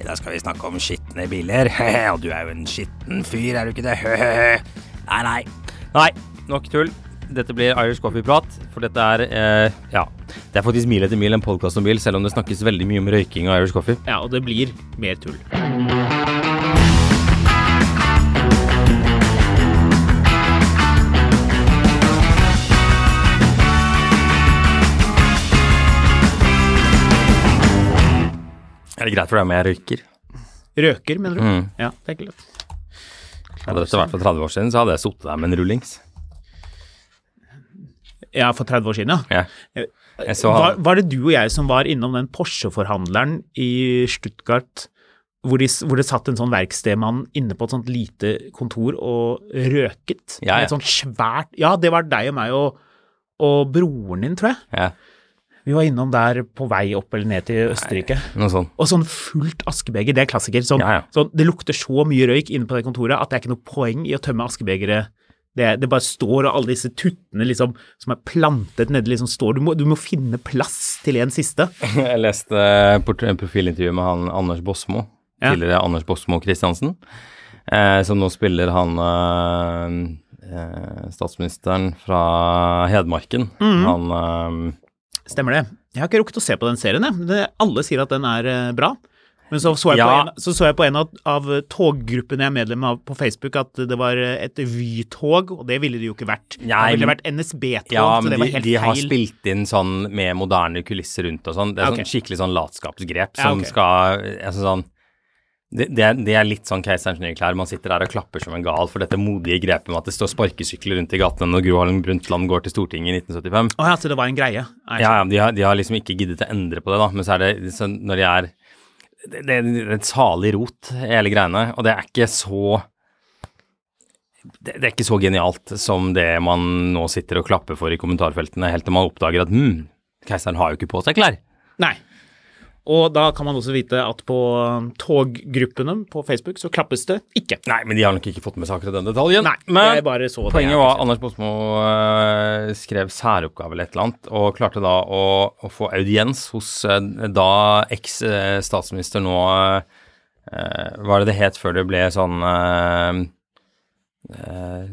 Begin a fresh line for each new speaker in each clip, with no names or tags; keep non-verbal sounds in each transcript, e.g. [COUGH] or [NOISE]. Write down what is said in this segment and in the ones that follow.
I dag skal vi snakke om skitne biler, [LAUGHS] og du er jo en skitten fyr, er du ikke det? [LAUGHS] Nei, nei.
Nei, nok tull. Dette blir Irish Coffee-prat, for dette er eh, Ja. Det er faktisk Mil etter mil en podkast om bil, selv om det snakkes veldig mye om røyking og Irish Coffee.
Ja, og det blir mer tull.
Er det greit for deg om jeg røyker?
Røker, mener du?
Mm.
Ja, det er ikke lett.
Hadde dette vært for 30 år siden, så hadde jeg sittet der med en rullings.
Ja, for 30 år siden, ja.
Ja. Jeg så
Var,
han.
var det du og jeg som var innom den Porsche-forhandleren i Stuttgart, hvor, de, s- hvor det satt en sånn verkstedmann inne på et sånt lite kontor og røket?
Ja, ja.
Med Et sånt svært Ja, det var deg og meg og, og broren din, tror jeg.
Ja,
Vi var innom der på vei opp eller ned til Østerrike.
noe sånt.
Og sånn fullt askebeger, det er klassiker. Sånn,
Ja, ja.
sånn, det lukter så mye røyk inne på det kontoret at det er ikke noe poeng i å tømme askebegeret. Det, det bare står, og alle disse tuttene liksom, som er plantet nedi, liksom står du må, du må finne plass til en siste.
Jeg leste eh, port- eh, profilintervjuet med han Anders Bosmo,
Ja.
tidligere Anders Bosmo Christiansen, eh, som nå spiller han eh, eh, statsministeren fra Hedmarken.
Mhm.
Han eh,
Stemmer det. Jeg har ikke rukket å se på den serien, jeg. men det- Alle sier at den er eh, bra. Men så så jeg,
Ja.
på en, så så jeg på en av, av toggruppene jeg er medlem av på Facebook, at det var eh, et Vy-tog, og det ville det jo ikke vært.
Nei,
det ville
men-
vært NSB-tog,
Ja,
så
men
det var
de,
helt
de har
feil.
spilt inn sånn med moderne kulisser rundt og sånn. Det er
Ja, ok.
sånn skikkelig sånn latskapsgrep
Ja,
som
ok.
skal altså sånn, det, det, er, det er litt sånn keiserens nye klær. Man sitter der og klapper som en gal for dette modige grepet med at det står sparkesykler rundt i gatene når Gro Harlem Brundtland går til Stortinget i 1975.
Å ja, så det var en greie. Nei,
Ja, ja, de har, de har liksom ikke giddet å endre på det, da. Men så er det sånn når de er det, det er et salig rot, hele greiene. Og det er ikke så det, det er ikke så genialt som det man nå sitter og klapper for i kommentarfeltene, helt til man oppdager at hm, keiseren har jo ikke på seg klær.
Nei. Og da kan man også vite at på um, toggruppene på Facebook så klappes det ikke.
Nei, men de har nok ikke fått med seg akkurat den detaljen.
Nei,
men
jeg bare så det
poenget
jeg
var
ikke
Anders Bosmo eh, skrev særoppgave eller et eller annet, og klarte da å, å få audiens hos eh, da eks-statsminister nå eh, Hva er det det het før det ble sånn eh, eh,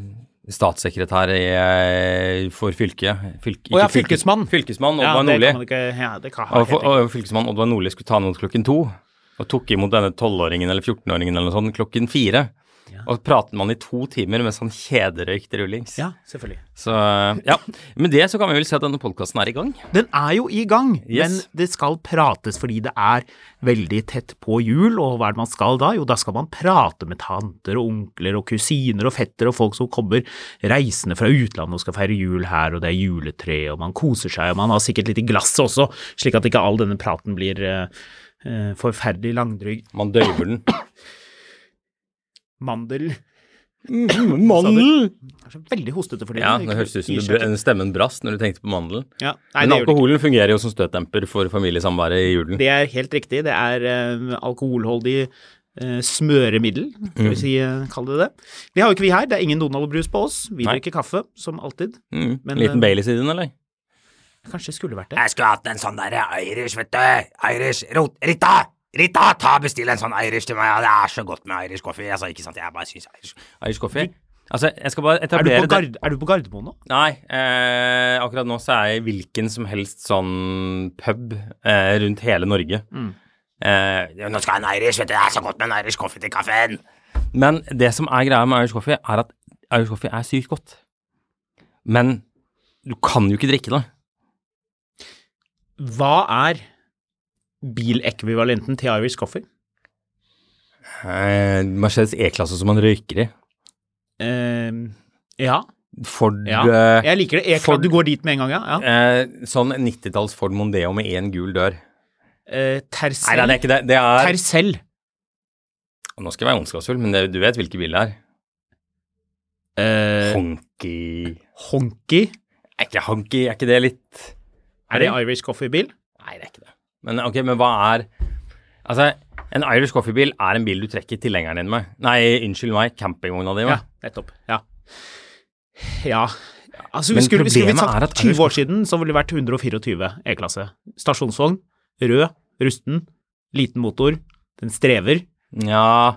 Statssekretær i, eh, for fylket. Fylke,
Å ja,
ikke fylke-
fylkesmann.
Fylkesmann
Ja,
Oddvar
det
Nordli.
kan man ikke ja, det kan,
Og,
helt
for, og fylkesmann Oddvar Nordli skulle ta imot klokken to, og tok imot denne 12-åringen eller 14-åringen eller noe sånt klokken fire. Og pratet man i to timer mens han kjederøykte rullings.
riktig. ja, selvfølgelig.
Så eh, ja. Med det så kan vi vel si at denne podkasten er i gang.
Den er jo i gang,
Yes.
men det skal prates fordi det er veldig tett på jul, og hva er det man skal da? Jo, da skal man prate med tanter og onkler og kusiner og fetter og folk som kommer reisende fra utlandet og skal feire jul her, og det er juletre, og man koser seg, og man har sikkert litt i glasset også, slik at ikke all denne praten blir eh, eh, forferdelig langdryg.
Man døyver
[COUGHS]
den.
Mandel.
Mandel!
Det er så veldig hostete for tiden.
Ja,
Jeg
det høres ut som
gir
du,
seg ikke.
br- stemmen brast når du tenkte på mandelen.
ja.
Men
Nei, det, gjør det, ikke.
alkoholen fungerer jo som støtdemper for familiesamværet i julen.
det er helt riktig. Det er eh, alkoholholdig eh, smøremiddel, skal
Mm.
vi si, eh, kall det det. Det har jo ikke vi her. Det er ingen Donald-brus på oss. Vi
Nei.
drikker kaffe, som alltid.
Mm.
Men, eh,
Liten Baileys i den, eller?
Kanskje det skulle vært det.
Jeg skulle hatt en sånn derre Irish, vet du. Irish. Rot. Rita! Rita, ta og bestill en sånn Irish til meg. Ja, det er så godt med Irish coffee. Altså, ikke sant, jeg bare syns Irish
Irish coffee? Altså, jeg skal bare
Er du,
etablere
på Gard er du på Gardermoen nå?
Nei, eh, akkurat nå så er jeg i hvilken som helst sånn pub eh, rundt hele Norge. Eh,
Jo, Nå skal jeg ha en Irish, vet du. Det er så godt med en Irish coffee til kaffen.
men det som er greia med Irish coffee, er at Irish coffee er sykt godt. Men du kan jo ikke drikke det.
Hva er bilekvivalenten til Irish Coffee?
Eh, Mercedes E-klasse som man røyker i.
Eh, ja.
Ford
ja.
eh,
Jeg liker det. Jeg,
Ford-
du går dit med en gang, ja. ja.
eh, Sånn 90-talls Ford Mondeo med én gul dør. Nei, nei,
Eh, Tercel.
det er ikke det. Det er
Tercel.
Nå skal jeg være ondskapsfull, men det, du vet hvilke biler det er.
Eh,
Honky
honky.
Er ikke honky, er ikke det litt
Er det Irish Coffee-bil?
Nei, det er ikke det. Men ok, men hva er Altså, en Irish Coffee-bil er en bil du trekker tilhengeren din med. Nei, unnskyld meg, campingvogna di
Ja,
med.
nettopp. Ja. ja. Altså, vi
Men
skulle, skulle vi
problemet er
sagt
at Irish
20 år siden, så ville det vært 124 E-klasse. Stasjonsvogn, rød, rusten, liten motor, den strever.
Nja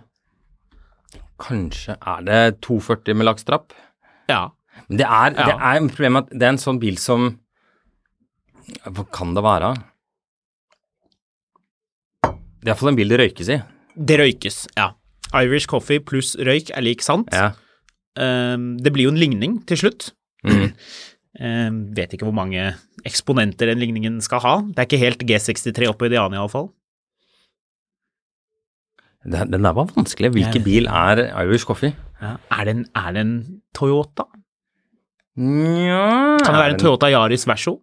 Kanskje er det 240 med lakstrapp?
Ja.
Men det er, det
Ja.
er en problem at det er en sånn bil som Hva kan det være? Det er iallfall en bil det røykes i.
Det røykes, ja. Irish coffee pluss røyk er lik sant.
Ja.
Ehm, det blir jo en ligning til slutt. Mm. Ehm, vet ikke hvor mange eksponenter den ligningen skal ha. Det er ikke helt G63 oppe i det andre iallfall.
Den, den der var vanskelig. Hvilken
Jeg-
bil er Irish Coffee?
Ja. Er, det en- er det en Toyota?
Nja
Kan det være en Toyota Yaris Verso?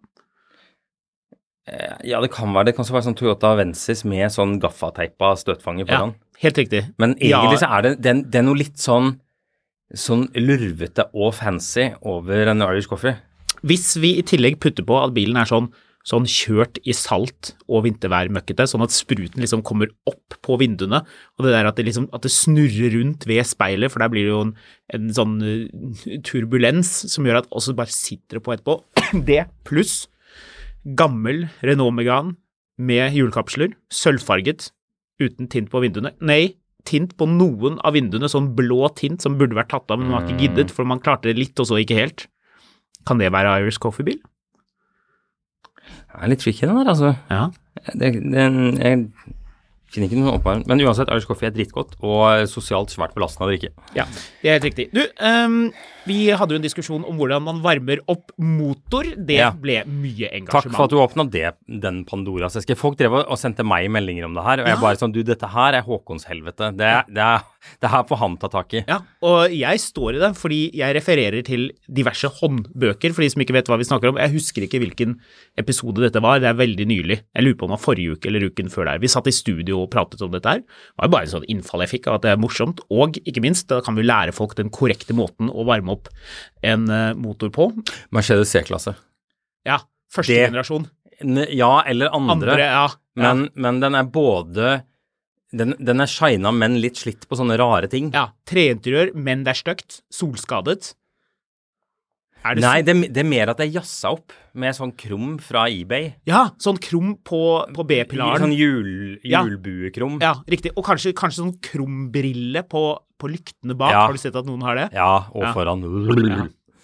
Ja, det kan være det. kan også være sånn Toyota Avensis med sånn gaffateipa støtfanger
Ja,
foran.
helt riktig.
Men egentlig
Ja.
så er det, det, er- det er noe litt sånn sånn lurvete og fancy over en Irish Coffee.
Hvis vi i tillegg putter på at bilen er sånn, sånn kjørt i salt og vinterværmøkkete, sånn at spruten liksom kommer opp på vinduene, og det der at det, liksom, at det snurrer rundt ved speilet, for der blir det jo en, en sånn eh, turbulens som gjør at også bare sitter det på etterpå. [CLEARS THROAT] Det pluss gammel Renault Megane med hjulkapsler, sølvfarget, uten tint på vinduene. Nei, tint på noen av vinduene, sånn blå tint som burde vært tatt av, men man har ikke giddet, for man klarte det litt, og så ikke helt. Kan det være Irish Coffee-bil?
Det er litt tricky, den der, altså.
Ja.
Det, den, jeg finner ikke noen oppvarming. Men uansett, Irish Coffee er dritgodt og sosialt svært belastende å drikke.
Det er helt riktig. Du, ehm, vi hadde jo en diskusjon om hvordan man varmer opp motor. Det
Ja.
ble mye engasjement.
Takk for at du åpna det, den Pandoras eske. Folk drev og og sendte meg meldinger om det her, og jeg bare sånn Du, dette her er Håkons helvete. Det, er- det, er, det her får han ta tak i.
Ja, og jeg står i det fordi jeg refererer til diverse håndbøker, for de som ikke vet hva vi snakker om. Jeg husker ikke hvilken episode dette var, det er veldig nylig. Jeg lurer på om det var forrige uke eller uken før der. Vi satt i studio og pratet om dette her. Det var jo bare en sånn innfall jeg fikk av at det er morsomt, og ikke minst, da kan vi lære folk den korrekte måten å varme opp en eh, motor på.
Mercedes C-klasse.
Ja, første
Det-
generasjon.
N- Ja, eller andre.
Andre, ja.
men, men den er både Den, den er shina, men litt slitt på sånne rare ting.
Ja, treinteriør, men det er stygt. Solskadet. Er det sånn-
Nei,
sol-
det, det er mer at det er jazza opp med sånn krum fra eBay.
Ja, sånn krum på, på B-pilaren.
Sånn jul,
Ja.
julbuekrum.
Ja, riktig. Og kanskje, kanskje sånn krumbrille på, på lyktene bak.
Ja.
Har du sett at noen har det?
Ja, og
Ja.
foran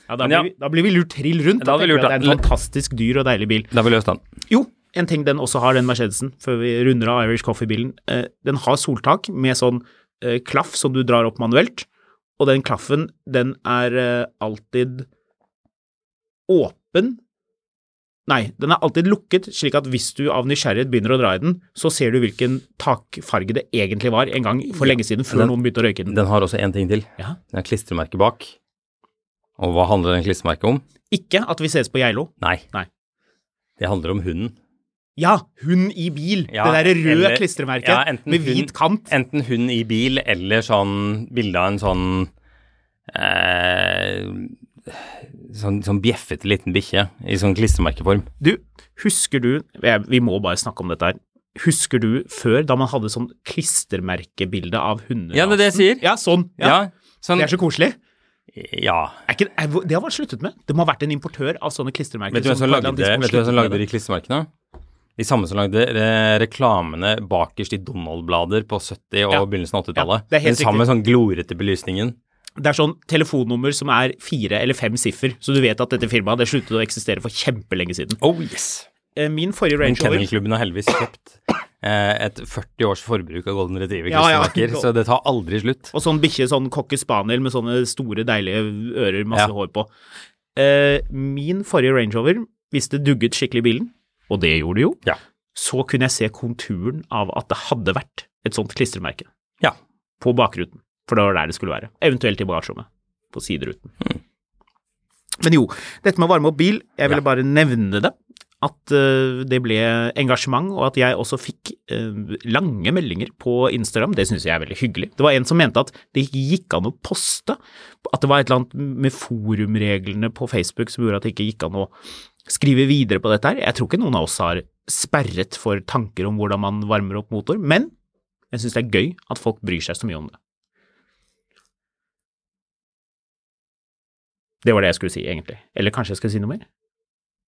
Ja, da,
Men ja.
blir vi, da blir vi lurt trill rundt.
Da
Da
blir
tenker vi
lurt,
at det er
ja.
en fantastisk dyr og deilig bil.
Da har vi løst den.
Jo, en ting den også har, den Mercedesen, før vi runder av Irish Coffee-bilen. Eh, den har soltak med sånn eh, klaff som du drar opp manuelt, og den klaffen, den er eh, alltid åpen. Nei, den er alltid lukket, slik at hvis du av nysgjerrighet begynner å dra i den, så ser du hvilken takfarge det egentlig var en gang for lenge siden, før
Den-
noen begynte å røyke den.
Den har også én ting til.
Ja.
Den har klistremerke bak. Og hva handler den klistremerket om?
Ikke at vi ses på Geilo.
Nei.
Nei.
Det handler om hunden.
Ja, hund i bil!
Ja,
det derre røde
eller-
klistremerket
ja, enten
med
hund-
hvit kant.
Enten hund i bil eller sånn bilde av en sånn eh, Sånn, sånn bjeffete liten bikkje i sånn klistremerkeform.
Du, husker du jeg- Vi må bare snakke om dette her. Husker du før, da man hadde sånn klistremerkebilde av hunder?
Ja, det er det jeg sier.
Ja, sånn.
Ja.
Ja.
sånn,
Det er så koselig.
ja.
Er ikke, er, det har vært sluttet med. Det må ha vært en importør av sånne klistremerker.
Vet du hvem som
på et eller
lagde,
annet tidspunkt
vet du hvem som
sluttet med
lagde de klistremerkene? De samme som lagde re reklamene bakerst i Donald-blader på 70- og
Ja.
begynnelsen av
Ja,
80-tallet.
det er helt
Den samme sånn glorete belysningen.
det. Det er sånn telefonnummer som er fire eller fem siffer, så du vet at dette firmaet det sluttet å eksistere for kjempelenge siden.
Oh yes!
Eh, Min
Men
forrige Range Rover
Kennelklubben har heldigvis kjøpt eh, et 40 års forbruk av Golden
Ja, ja.
Retriever-klistremerker, så det tar aldri slutt.
Og sånn bikkje, sånn cocker spaniel med sånne store, deilige ører, masse
Ja.
hår på. Eh, min forrige Range Rover, hvis det dugget skikkelig i bilen, og det gjorde det jo,
Ja.
så kunne jeg se konturen av at det hadde vært et sånt klistremerke
Ja.
på bakruten, for det var der det skulle være. Eventuelt i bagasjerommet, på sideruten.
Hmm.
Men jo, dette med å varme opp bil, jeg ville
Ja.
bare nevne det. At eh, det ble engasjement, og at jeg også fikk eh, lange meldinger på Instagram. Det syns jeg er veldig hyggelig. Det var en som mente at det ikke gikk an å poste. At det var et eller annet med forumreglene på Facebook som gjorde at det ikke gikk an å skrive videre på dette her. Jeg tror ikke noen av oss har sperret for tanker om hvordan man varmer opp motor, men jeg syns det er gøy at folk bryr seg så mye om det. Det var det jeg skulle si, egentlig. Eller kanskje jeg skal si noe mer?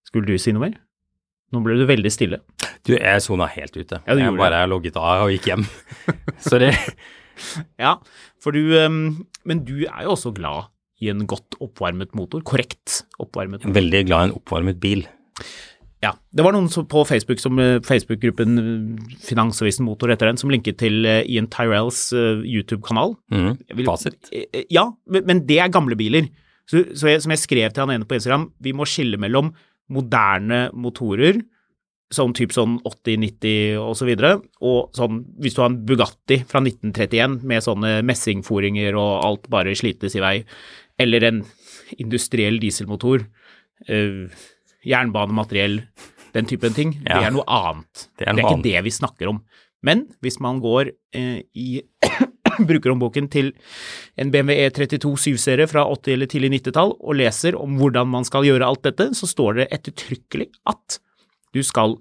Skulle du si noe mer? Nå ble du veldig stille.
Du, jeg sona helt ute.
Ja, du
jeg
gjorde
bare logget av og gikk hjem. [LAUGHS] Sorry.
Ja, for du ehm, Men du er jo også glad i en godt oppvarmet motor. Korrekt oppvarmet. motor.
Veldig glad i en oppvarmet bil.
Ja. Det var noen som, på Facebook, som eh, Facebook-gruppen eh, Finansavisen Motor heter den, som linket til eh, Ian Tyrells eh, YouTube-kanal.
Mhm.
Jeg vil-
Fasit.
Eh, eh, Ja, men men det er gamle biler. Så, så jeg, som jeg skrev til han ene på Instagram, vi må skille mellom moderne motorer, sånn typ sånn 80-90 og så videre, og sånn hvis du har en Bugatti fra 1931 med sånne messingforinger og alt bare slites i vei, eller en industriell dieselmotor, eh, jernbanemateriell, den typen ting,
Ja.
det er noe annet.
Det
Det
er
er,
noe annet.
ikke det vi snakker om. Men hvis man går eh, i [COUGHS] brukerhåndboken til en BMW E32 7-serie E fra 80- eller tidlig 90-tall og leser om hvordan man skal gjøre alt dette, så står det ettertrykkelig at du skal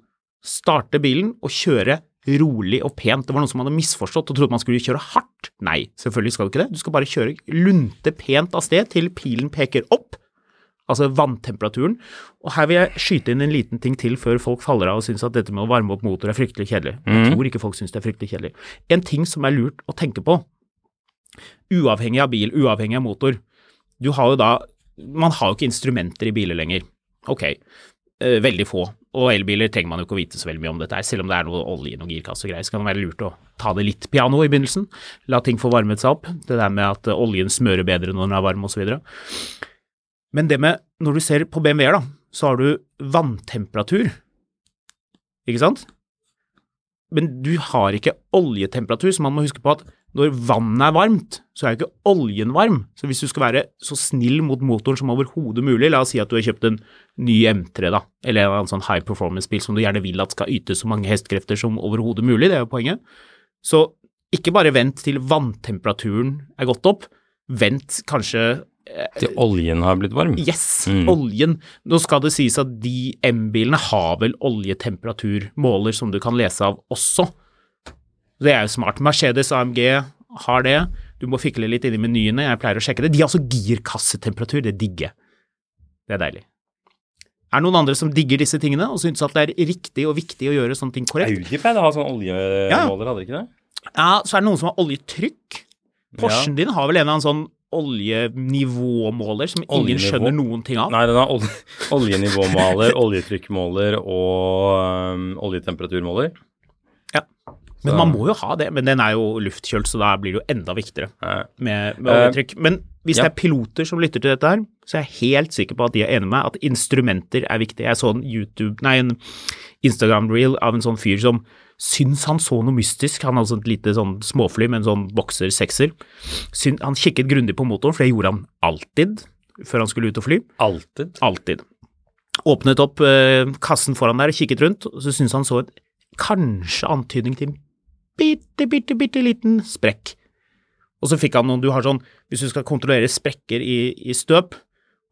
starte bilen og kjøre rolig og pent. Det var noen som hadde misforstått og trodde man skulle kjøre hardt. Nei, selvfølgelig skal du ikke det. Du skal bare kjøre lunte pent av sted til pilen peker opp, altså vanntemperaturen. Og her vil jeg skyte inn en liten ting til før folk faller av og syns at dette med å varme opp motor er fryktelig kjedelig. Jeg tror ikke folk syns det er fryktelig kjedelig. En ting som er lurt å tenke på, uavhengig av bil, uavhengig av motor, du har jo da Man har jo ikke instrumenter i biler lenger. Ok, eh, veldig få. Og elbiler trenger man jo ikke å vite så veldig mye om dette her, selv om det er noe olje, noe girkasse og greier, så kan det være lurt å ta det litt piano i begynnelsen. La ting få varmet seg opp. Det der med at eh, oljen smører bedre når den er varm osv. Men det med Når du ser på BMW-er, da, så har du vanntemperatur, ikke sant? Men du har ikke oljetemperatur, så man må huske på at når vannet er varmt, så er jo ikke oljen varm. Så hvis du skal være så snill mot motoren som overhodet mulig, la oss si at du har kjøpt en ny M3, da, eller en annen sånn high performance-bil som du gjerne vil at skal yte så mange hestekrefter som overhodet mulig, det er jo poenget. Så ikke bare vent til vanntemperaturen er gått opp, vent kanskje eh,
Til oljen har blitt varm.
Yes, oljen. Nå skal det sies at de M-bilene har vel oljetemperaturmåler som du kan lese av også. Det er jo smart. Mercedes AMG har det. Du må fikle litt inni menyene, jeg pleier å sjekke det. De har også girkassetemperatur, det digger jeg. Det er deilig. Er det noen andre som digger disse tingene og syns at det er riktig og viktig å gjøre sånne ting korrekt?
Audi pleide å ha sånn oljemåler, hadde de ikke det?
Ja, så er det noen som har oljetrykk. Porschen din har vel en eller annen sånn oljenivåmåler som ingen
Oljenivå?
skjønner noen ting av.
Nei, den har ol oljenivåmåler, oljetrykkmåler og øhm, oljetemperaturmåler.
Men man må jo ha det, men den er jo luftkjølt, så da blir det jo enda viktigere
Eh,
med, med oljetrykk. Men hvis
ja.
det er piloter som lytter til dette her, så er jeg helt sikker på at de er enig med meg at instrumenter er viktig. Jeg så en YouTube, nei, en Instagram-reel av en sånn fyr som syns han så noe mystisk. Han hadde sånt lite sånn småfly med en sånn bokser-sekser. Syn- Han kikket grundig på motoren, for det gjorde han alltid før han skulle ut og fly.
Alltid.
Alltid. Åpnet opp eh, kassen foran der og kikket rundt, og så syntes han så en kanskje antydning til en bitte, bitte, bitte liten sprekk. Og så fikk han noen Du har sånn Hvis du skal kontrollere sprekker i, i støp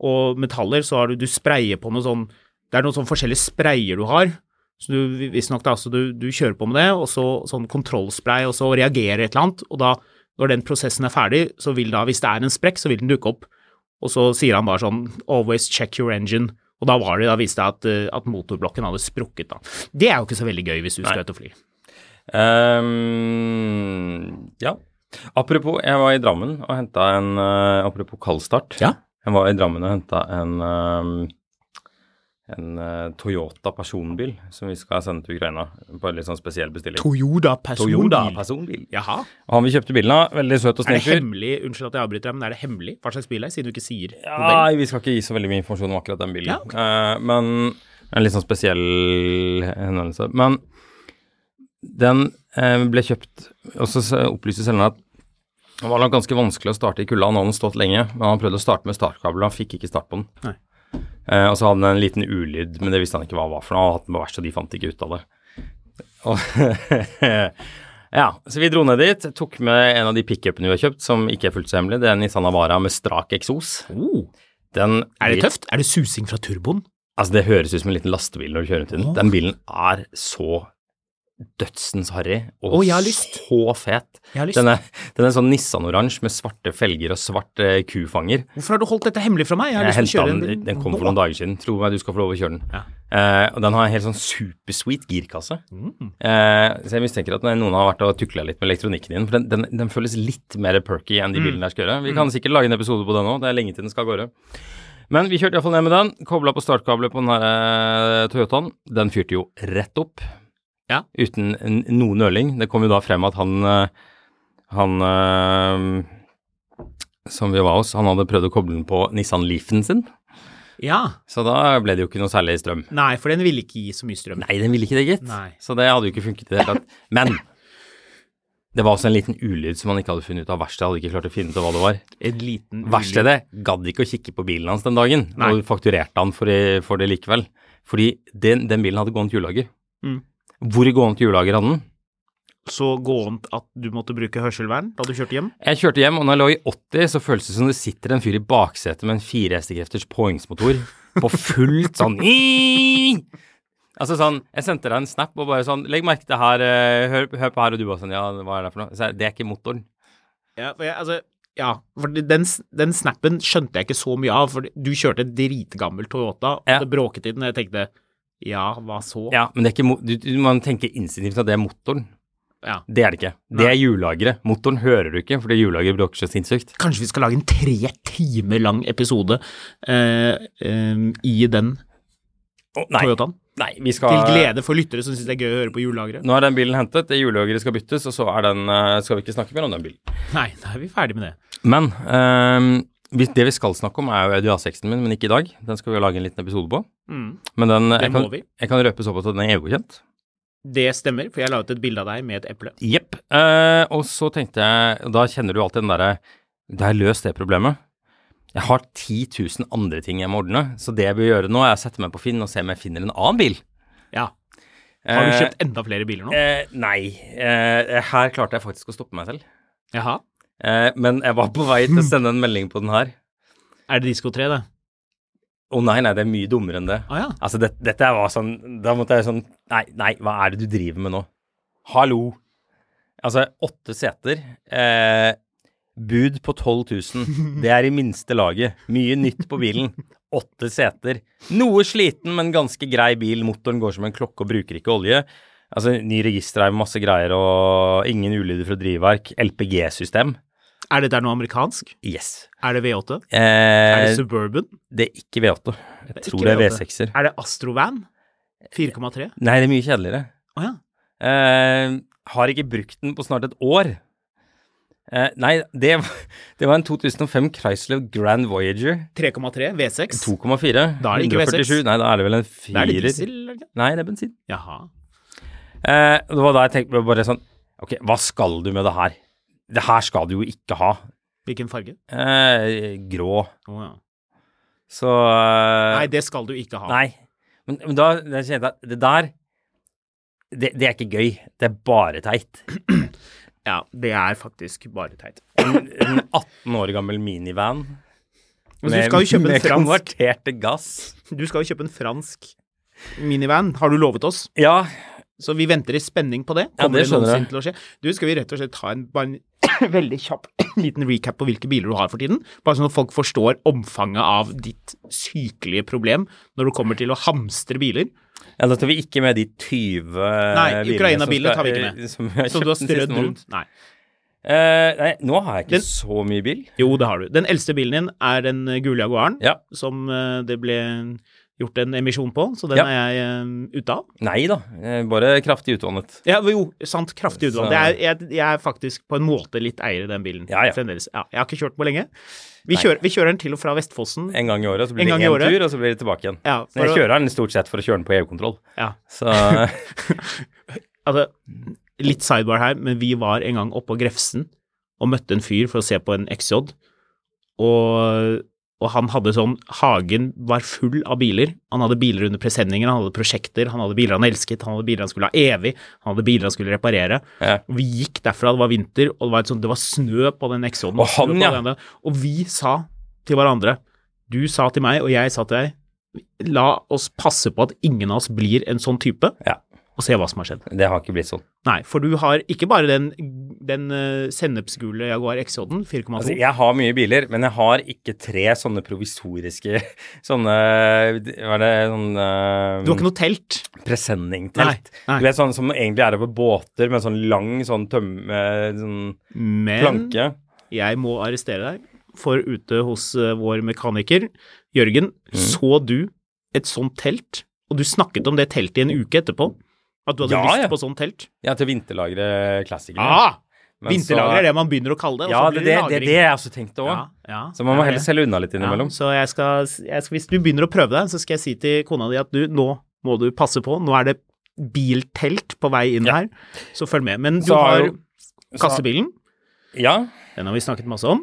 og metaller, så har du Du sprayer på noe sånn Det er noen sånn forskjellige sprayer du har. Så du visstnok da, så du, du kjører på med det, og så sånn kontrollspray, og så reagerer et eller annet, og da, når den prosessen er ferdig, så vil da, hvis det er en sprekk, så vil den dukke opp. Og så sier han bare sånn Always check your engine. Og da var det, da viste det at, eh, at motorblokken hadde sprukket, da. Det er jo ikke så veldig gøy hvis du skal ut og fly.
Ehm, ja. Apropos, jeg var i Drammen og henta en eh, Apropos kaldstart.
Ja.
Jeg var i Drammen og henta en, ehm, um, en eh, Toyota personbil som vi skal sende til Ukraina på en litt sånn spesiell bestilling.
Toyota personbil.
Toyota personbil.
Jaha.
Og Han vi kjøpte bilen av, veldig søt og
Er det
snill fyr.
hemmelig, unnskyld at jeg avbryter deg, men er det hemmelig hva slags bil det er, siden du ikke sier modell?
Nei, vi skal ikke gi så veldig mye informasjon om akkurat den bilen.
Ja, ok.
Eh, men en litt sånn spesiell henvendelse. Men den eh, ble kjøpt, og så s- opplyste selgeren at det var nok ganske vanskelig å starte i kulda. Han hadde den stått lenge, men han prøvde å starte med startkabel, og han fikk ikke start på den.
Nei.
Eh, og så hadde den en liten ulyd, men det visste han ikke hva det var for noe. Han hadde hatt den på verksted, og de fant ikke ut av det. Og [LAUGHS] Ja, så vi dro ned dit, tok med en av de pickupene vi har kjøpt, som ikke er fullt så hemmelig. Det er en Nissan Avara med strak eksos.
Oh,
Den
er det tøft? Er det susing fra turboen?
Altså, det høres ut som en liten lastebil når du kjører rundt i den. Den bilen er så dødsens harry og
Å, jeg har lyst.
så fet.
Jeg har lyst.
Den er, den er sånn Nissan-oransje med svarte felger og svart eh, kufanger.
Hvorfor har du holdt dette hemmelig fra meg? Jeg har
Jeg
lyst til
hentet
å kjøre en
den,
bil
den kom
nå.
for noen dager siden. Tro meg, du skal få lov å kjøre den.
Ja.
Eh, og den har en helt sånn supersweet girkasse.
Mm.
Eh, så jeg mistenker at noen har vært og tukla litt med elektronikken din, for den, den, den føles litt mer perky enn
Mm.
de bilene jeg skal gjøre. Vi kan sikkert lage en episode på den òg, det er lenge til den skal av gårde. Men vi kjørte iallfall ned med den, kobla på startkablet på den her eh, Toyotaen. Den fyrte jo rett opp,
Ja.
uten n- noe nøling. Det kom jo da frem at han eh, han eh, som vi var hos, han hadde prøvd å koble den på Nissan Leafen sin.
Ja.
Så da ble det jo ikke noe særlig strøm.
Nei, for den ville ikke gi så mye strøm.
Nei, den ville ikke det, gitt.
Nei.
Så det hadde jo ikke funket i det hele tatt. Men det var også en liten ulyd som han ikke hadde funnet ut av. Verkstedet hadde ikke klart å finne ut av hva det var.
En liten
Verkstedet gadd ikke å kikke på bilen hans den dagen,
Nei.
og fakturerte han for, for det likevel. Fordi den, den bilen hadde gående hjullager.
Mm.
Hvor gående hjullager hadde den?
Så gåent at du måtte bruke hørselvern da du kjørte hjem?
Jeg kjørte hjem, og når jeg lå i 80, så føles det som det sitter en fyr i baksetet med en 4 hestekrefters påhengsmotor på fullt sånn [LAUGHS] «Ii!» Altså sånn, Jeg sendte deg en snap og bare sånn Legg merke til det her, eh, hør, hør på her, og du bare sånn Ja, hva er det for noe? Så jeg, det er ikke motoren.
Ja, for jeg, altså, ja, for den, den snappen skjønte jeg ikke så mye av, for du kjørte en dritgammel Toyota, og
Ja.
det bråket i den, og jeg tenkte ja, hva så?
Ja, men det er ikke mo du, du, Man tenker instinktivt at det er motoren.
Ja.
Det er det ikke. Det er hjullageret. Motoren hører du ikke, fordi hjullageret bråker så sinnssykt.
Kanskje vi skal lage en tre timer lang episode eh, eh, i den
Å, nei.
Toyotaen?
nei, vi
Til
skal
glede for lyttere som syns det er gøy å høre på julelageret?
Nå er den bilen hentet, det hjullageret skal byttes, og så er den, eh, skal vi ikke snakke mer om den bilen.
Nei, da er vi ferdig med det.
Men ehm, vi- det vi skal snakke om, er jo EDA-6-en min, men ikke i dag. Den skal vi jo lage en liten episode på. Men den, jeg,
Mm. må
kan,
vi.
jeg kan røpe såpass at den er EU-godkjent.
Det stemmer, for jeg la ut et bilde av deg med et eple.
Jepp. Eh, og så tenkte jeg og Da kjenner du alltid den derre Det er løst, det problemet. Jeg har 10 000 andre ting jeg må ordne, så det jeg bør gjøre nå, er å sette meg på Finn og se om jeg finner en annen bil.
Ja. Har du
Eh,
kjøpt enda flere biler nå?
eh, nei. Eh, her klarte jeg faktisk å stoppe meg selv.
Jaha.
Eh, men jeg var på vei til å sende en melding på den her.
Er det Disko 3, det?
Å nei, nei, det er mye dummere enn det.
Å ja.
Altså, det, dette her var sånn Da måtte jeg sånn Nei, nei, hva er det du driver med nå? Hallo! Altså, åtte seter. Eh, bud på 12 000. Det er i minste laget. Mye nytt på bilen. Åtte seter. Noe sliten, men ganske grei bil. Motoren går som en klokke og bruker ikke olje. Altså, ny registerheim, masse greier og ingen ulyder fra drivverk. LPG-system.
Er dette noe amerikansk?
Yes.
Er det V8?
Eh,
Er det
det,
Suburban?
er ikke V8. Jeg
ikke
tror det er
V8.
V6-er.
Er det Astrovan? 4,3?
Nei, det er mye kjedeligere.
Å ja.
Eh, har ikke brukt den på snart et år. Eh, nei, det, det var [LAUGHS] en 2005 Chrysler Grand Voyager
3,3 V6?
2,4.
Da er det ikke
147.
V6.
Nei, da er det vel en
Det er
firer.
det diesel? eller ikke?
Nei, det er bensin.
Jaha.
Eh, det var da jeg tenkte bare sånn Ok, hva skal du med det her? Det her skal du jo ikke ha.
Hvilken farge?
Eh, grå.
Å ja.
Så eh,
Nei, det skal du ikke ha.
Nei. Men, men da da kjente jeg at det der det, det er ikke gøy. Det er bare teit.
Ja, det er faktisk bare teit. [CLEARS THROAT]
En, en 18 år gammel minivan
Men du skal jo kjøpe en
med
fransk,
konverterte gass.
du skal jo kjøpe en fransk minivan, har du lovet oss?
Ja,
Så vi venter i spenning på det.
Ja,
Kommer
det skjønner jeg.
noensinne til å skje? Du, skal vi rett og slett ta en, bare en [CLEARS THROAT] veldig kjapp liten recap på hvilke biler du har for tiden? Bare sånn at folk forstår omfanget av ditt sykelige problem når du kommer til å hamstre biler.
ja da tar vi ikke med de 20
Nei,
bilene som
Ukraina-bilene
skal-
tar vi ikke
[LAUGHS]
med.
Som, jeg
Som
kjøpt
du har
den siste
strødd
måneden.
rundt. Nei.
Eh, nei, nå har jeg ikke
Den-
så mye bil.
Jo, det har du. Den eldste bilen din er den eh, gule Jaguaren
Ja.
som eh, det ble gjort en emisjon på, så den
Ja.
er jeg eh, ute av.
Nei da, eh, bare kraftig utvannet.
Ja, jo, sant. Kraftig utvalg.
Så-
Det er, jeg, jeg er faktisk på en måte litt eier i den bilen.
Ja, ja.
Fremdeles. Ja, jeg har ikke kjørt på lenge. Vi kjører, vi kjører den til og fra Vestfossen.
En gang i året, så
En
blir det
gang i
én
året.
tur, og så blir det tilbake igjen.
Ja,
Så jeg
for å-
kjører den stort sett for å kjøre den på EU-kontroll.
Ja.
Så [LAUGHS]
Altså, litt sidebar her, men vi var en gang oppå Grefsen og møtte en fyr for å se på en XJ, og, og han hadde sånn Hagen var full av biler. Han hadde biler under presenninger, han hadde prosjekter, han hadde biler han elsket, han hadde biler han skulle ha evig, han hadde biler han skulle reparere.
Ja.
Og vi gikk derfra, det var vinter, og det var, et sånt, det var snø på den XJ-en.
Og han, ja.
Og vi sa til hverandre, du sa til meg, og jeg sa til deg, la oss passe på at ingen av oss blir en sånn type,
Ja.
og se hva som har skjedd.
det har ikke blitt sånn.
Nei, for du har ikke bare den, den eh, sennepsgule Jaguar XJ-en, 4,2.
Altså, jeg har mye biler, men jeg har ikke tre sånne provisoriske [LAUGHS] sånne Hva er det sånn eh,
du har ikke noe telt.
presenningstelt.
Nei, nei.
Du vet sånn som egentlig er over båter med sånn lang sånn tømme sånn
Men
planke.
jeg må arrestere deg, for ute hos eh, vår mekaniker, Jørgen,
Mm.
så du et sånt telt, og du snakket om det teltet i en uke etterpå. At du hadde
Ja,
lyst
ja.
på sånt telt.
Ja, til vinterlagre klassikere.
Ah!
Men så-
Vinterlager er det man begynner å kalle det. og
Ja,
så
det
blir
er det, det, er
lagring.
det jeg også tenkte òg.
Ja, ja,
Så man må
ja,
heller
det.
selge unna litt innimellom.
Ja, så jeg skal, jeg skal, hvis du begynner å prøve deg, så skal jeg si til kona di at du, nå må du passe på. Nå er det biltelt på vei inn her, så følg med. Men du
Så har
har
jo-
kassebilen.
Ja.
Den har vi snakket masse om.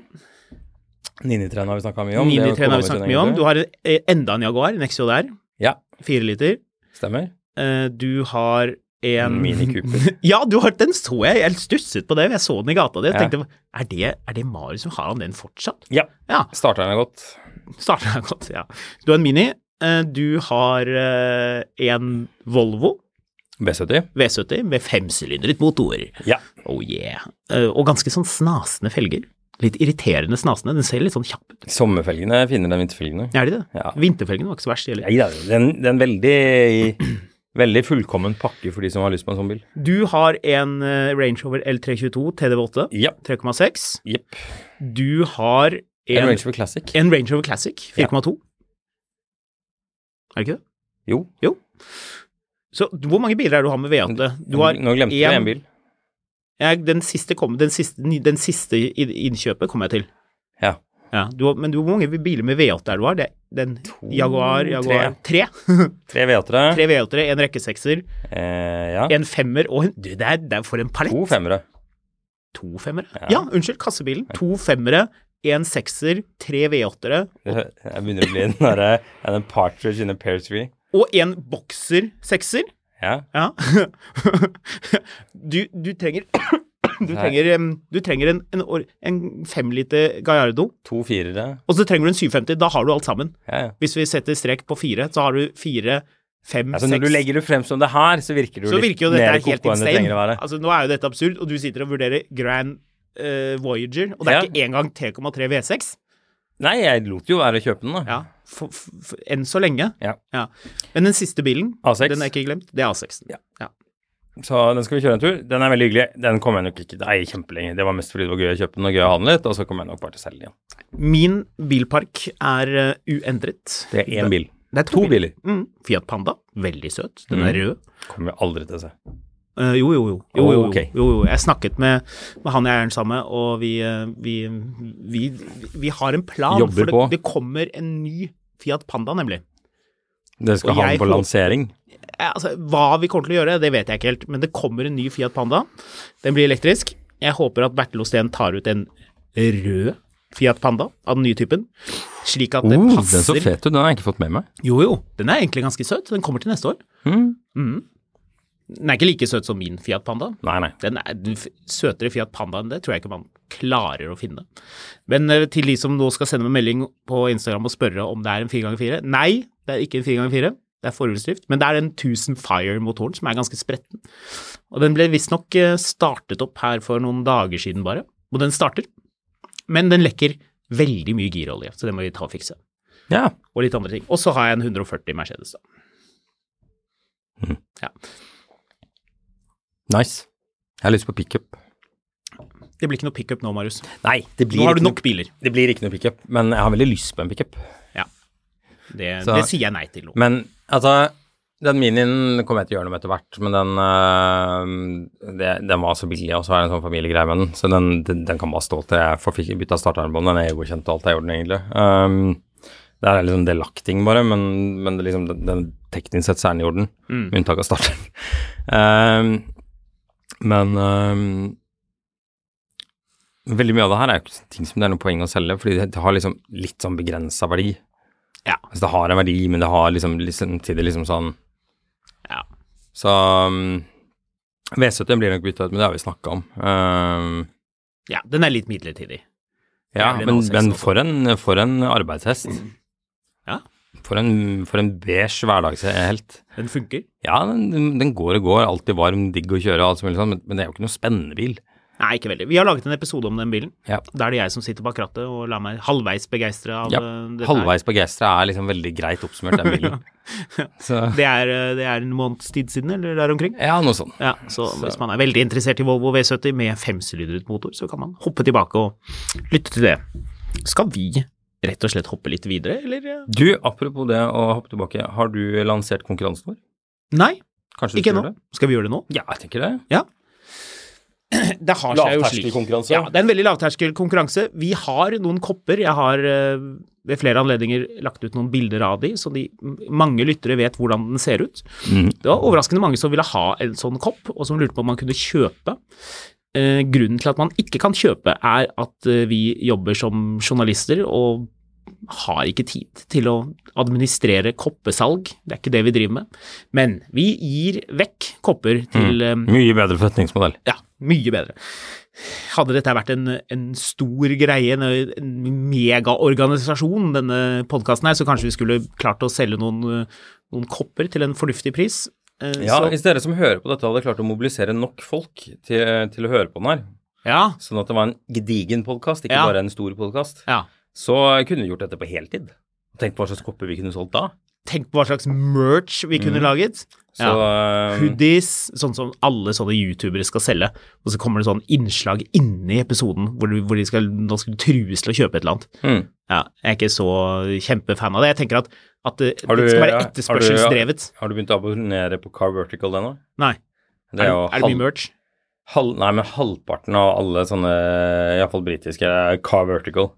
Ninitren har vi snakka mye om. det er jo
993 har vi snakket mye om.
egentlig.
Du har en- eh, enda en Jaguar, en XJR,
Ja,
fire liter.
stemmer.
Eh, Du har en
Mini Cooper.
[LAUGHS] Ja, du har, den så jeg. Jeg stusset på det. Jeg så den i gata di og
Ja.
tenkte er det, er det Marius som har han den fortsatt? [LAUGHS]
Ja.
Ja.
Starteren er godt.
Starter jeg godt, ja. Du har en Mini. eh, Du har eh, en Volvo
B70.
V70 med femsylindret motor.
Ja.
Oh yeah. Eh, Og ganske sånn snasende felger. Litt irriterende snasende. Den ser litt sånn kjapp ut.
Sommerfelgene er finere enn vinterfelgene.
Er de det?
Ja.
Vinterfelgene var ikke så verst, heller.
Nei da, det er en- det er en veldig, [CLEARS THROAT] veldig fullkommen pakke for de som har lyst på en sånn bil.
Du har en eh, Range Rover L322 TDV8
Ja.
3,6.
Jepp.
Du har
En
en,
Range Rover Classic.
en Range Rover Classic 4,2. Er det ikke det?
Jo.
Så du- hvor mange biler er det du har med V8? Du har
Nå glemte jeg
en-
en bil.
Jeg, den, siste kom, den, siste, ny- den siste i- innkjøpet kom jeg til.
Ja.
Ja, du, har- men du, hvor mange biler med V8 er du har? Det, den Jaguar, Jaguar Tre. [LAUGHS]
Tre V8-ere.
Tre V8-ere, en rekke sekser,
Eh, ja.
en femmer og en du, det, er, det er for en palett!
To femmere.
To femmere? Ja. unnskyld, kassebilen. To femmere, en sekser, tre V8-ere
Det- Jeg begynner å bli en, derre- en en partridge in a pear tree.
og en bokser-sekser.
Ja.
Ja. [LAUGHS] Du, du trenger [COUGHS] Du trenger, em, du trenger en, en, or- en femliter Gallardo,
To firere.
og så trenger du en 750. Da har du alt sammen.
Ja, ja.
Hvis vi setter strek på fire, så har du fire, fem,
Altså, når
seks
du legger det frem som det her, så virker det jo
Så
litt
virker jo dette
mer
er helt
koko enn det trenger
insane.
å være.
Altså, nå er jo dette absurd, og du sitter og vurderer Grand eh, Voyager, og det er
Ja.
ikke engang 3,3 V6.
Nei, jeg lot jo være å kjøpe den, da.
Ja, for, for, for, enn så lenge.
Ja.
Men den siste bilen,
A6.
den er ikke glemt, det er A6.
Ja.
Ja.
Så den skal vi kjøre en tur. Den er veldig hyggelig. Den kommer jeg nok ikke til å eie kjempelenge. Det var mest fordi det var gøy å kjøpe den og gøy å ha den litt, og så kommer jeg nok bare til å selge den igjen.
Min bilpark er eh, uendret.
Det er én bil. Mm.
Det er to,
To biler.
Mm. Fiat Panda, veldig søt. Den er rød.
Kommer vi aldri til å se.
Eh, jo, jo, jo. jo,
Oh,
jo,
ok.
jo, jo. Jeg snakket med, med han jeg er den samme, og vi, eh, vi, vi, vi har en plan.
Jobber
for det,
på.
det kommer en ny Fiat Panda, nemlig.
Dere skal
Og
ha den
jeg
på
håper-
lansering.
Eh, Altså, hva vi kommer til å gjøre, det vet jeg ikke helt, men det kommer en ny Fiat Panda. Den blir elektrisk. Jeg håper at Bertil Osten tar ut en rød Fiat Panda av den nye typen, slik at det passer.
fet ut. Oh, Den har jeg ikke fått med meg.
Jo, jo. Den er egentlig ganske søt. Den kommer til neste år.
Mm.
Mhm. Den er ikke like søt som min Fiat Panda.
Nei, nei.
Den er den f- søtere Fiat Panda enn det, tror jeg ikke man klarer å finne. Men eh, til de som nå skal sende meg melding på Instagram og spørre om det er en 4x4 Nei, det er ikke en 4x4. Det er forhjulsdrift, men det er den 1000 Fire-motoren som er ganske spretten. Og den ble visstnok eh, startet opp her for noen dager siden bare, og den starter. Men den lekker veldig mye girolje, så det må vi ta og fikse.
Ja.
Og litt andre ting. Og så har jeg en 140 Mercedes, da.
Mm. Nice. Jeg har lyst på pickup.
Det blir ikke noe pickup nå, Marius.
Nei, det blir
Nå har
ikke
du
noe-
nok biler.
Det blir ikke noe pickup, men jeg har veldig lyst på en pickup.
Ja. Det,
Så-
det sier jeg nei til nå.
Men altså, den minien kommer jeg til å gjøre noe med etter hvert, men den, øh, det, den var så billig, og så er det en sånn familiegreie med den, så den, den, den kan bare stå til jeg får fikk- bytta startarmbånd, den er EU-godkjent og alt er i orden egentlig. Ehm, det er liksom delakting bare, men, men det liksom, den, den teknisk sett så er den i orden,
Mm.
med unntak av starteren. Ehm, men ehm, veldig mye av det her er jo ikke ting som det er noe poeng å selge, fordi det, det har liksom litt sånn begrensa verdi.
Ja.
Altså, det har en verdi, men det har liksom, liksom til det liksom sånn
ja.
Så um, V70 blir nok bytta ut, men det har vi snakka om. Um,
Ja, den er litt midlertidig.
ja,
Jævlig
men,
nå,
men
16.
for en, for en arbeidshest.
Ja.
For en, for en beige hverdagshelt.
Den funker.
Ja, den, den går og går, alltid varm, digg å kjøre, og alt som mulig sånn, men, men det er jo ikke noe spennende bil.
Nei, ikke veldig. Vi har laget en episode om den bilen.
Ja.
Da er det jeg som sitter bak rattet og lar meg halvveis begeistre av
Ja,
eh, dette her.
Halvveis begeistra er liksom veldig greit oppsummert, den [LAUGHS] bilen. Så,
Det er, eh, det er en måneds tid siden, eller der omkring.
ja, noe sånt.
Ja, så, hvis man er veldig interessert i Volvo V70 med femsylindret motor, så kan man hoppe tilbake og lytte til det. Skal vi rett og slett hoppe litt videre, eller? eh?
Du, apropos det å hoppe tilbake, har du lansert konkurransen vår?
Nei,
Kanskje du
ikke
skulle
nå.
gjøre det?
Skal vi gjøre det nå?
Ja, jeg tenker det.
Ja. Det har seg jo slik.
Lavterskelkonkurranse.
Ja, det er en veldig lavterskel konkurranse. Vi har noen kopper. Jeg har eh, ved flere anledninger lagt ut noen bilder av de, så de, m- mange lyttere vet hvordan den ser ut.
Mm,
Det var overraskende mange som ville ha en sånn kopp, og som lurte på om man kunne kjøpe. Eh, grunnen til at man ikke kan kjøpe, er at eh, vi jobber som journalister og har ikke tid til å administrere koppesalg. Det er ikke det vi driver med. Men vi gir vekk kopper til eh,
Mye bedre forretningsmodell.
ja, mye bedre. Hadde dette vært en, en stor greie, en, en megaorganisasjon, denne podkasten her, så kanskje vi skulle klart å selge noen, eh, noen kopper til en fornuftig pris. Eh,
Ja,
så,
Hvis dere som hører på dette hadde klart å mobilisere nok folk til, til å høre på den her,
ja,
sånn at det var en gedigen podkast, ikke
Ja.
bare en stor podkast,
ja.
så kunne vi gjort dette på heltid. Tenk på hva slags kopper vi kunne solgt da.
Tenk på hva slags merch vi kunne
Mm.
laget.
Så
ja.
eh,
Hoodies, sånn som alle sånne youtubere skal selge. Og så kommer det sånn innslag inni episoden hvor, du, hvor de skal, nå skal du trues til å kjøpe et eller annet.
Mm.
Ja, jeg er ikke så kjempefan av det. Jeg tenker at, at det,
har du-
det skal være
ja,
etterspørselsdrevet.
Har, du- har du begynt å abonnere på Car Vertical ennå?
Nei.
Det
Er det,
jo
er det
halv-
mye merch?
halv- nei, men halvparten av alle sånne, iallfall britiske, er Car Vertical.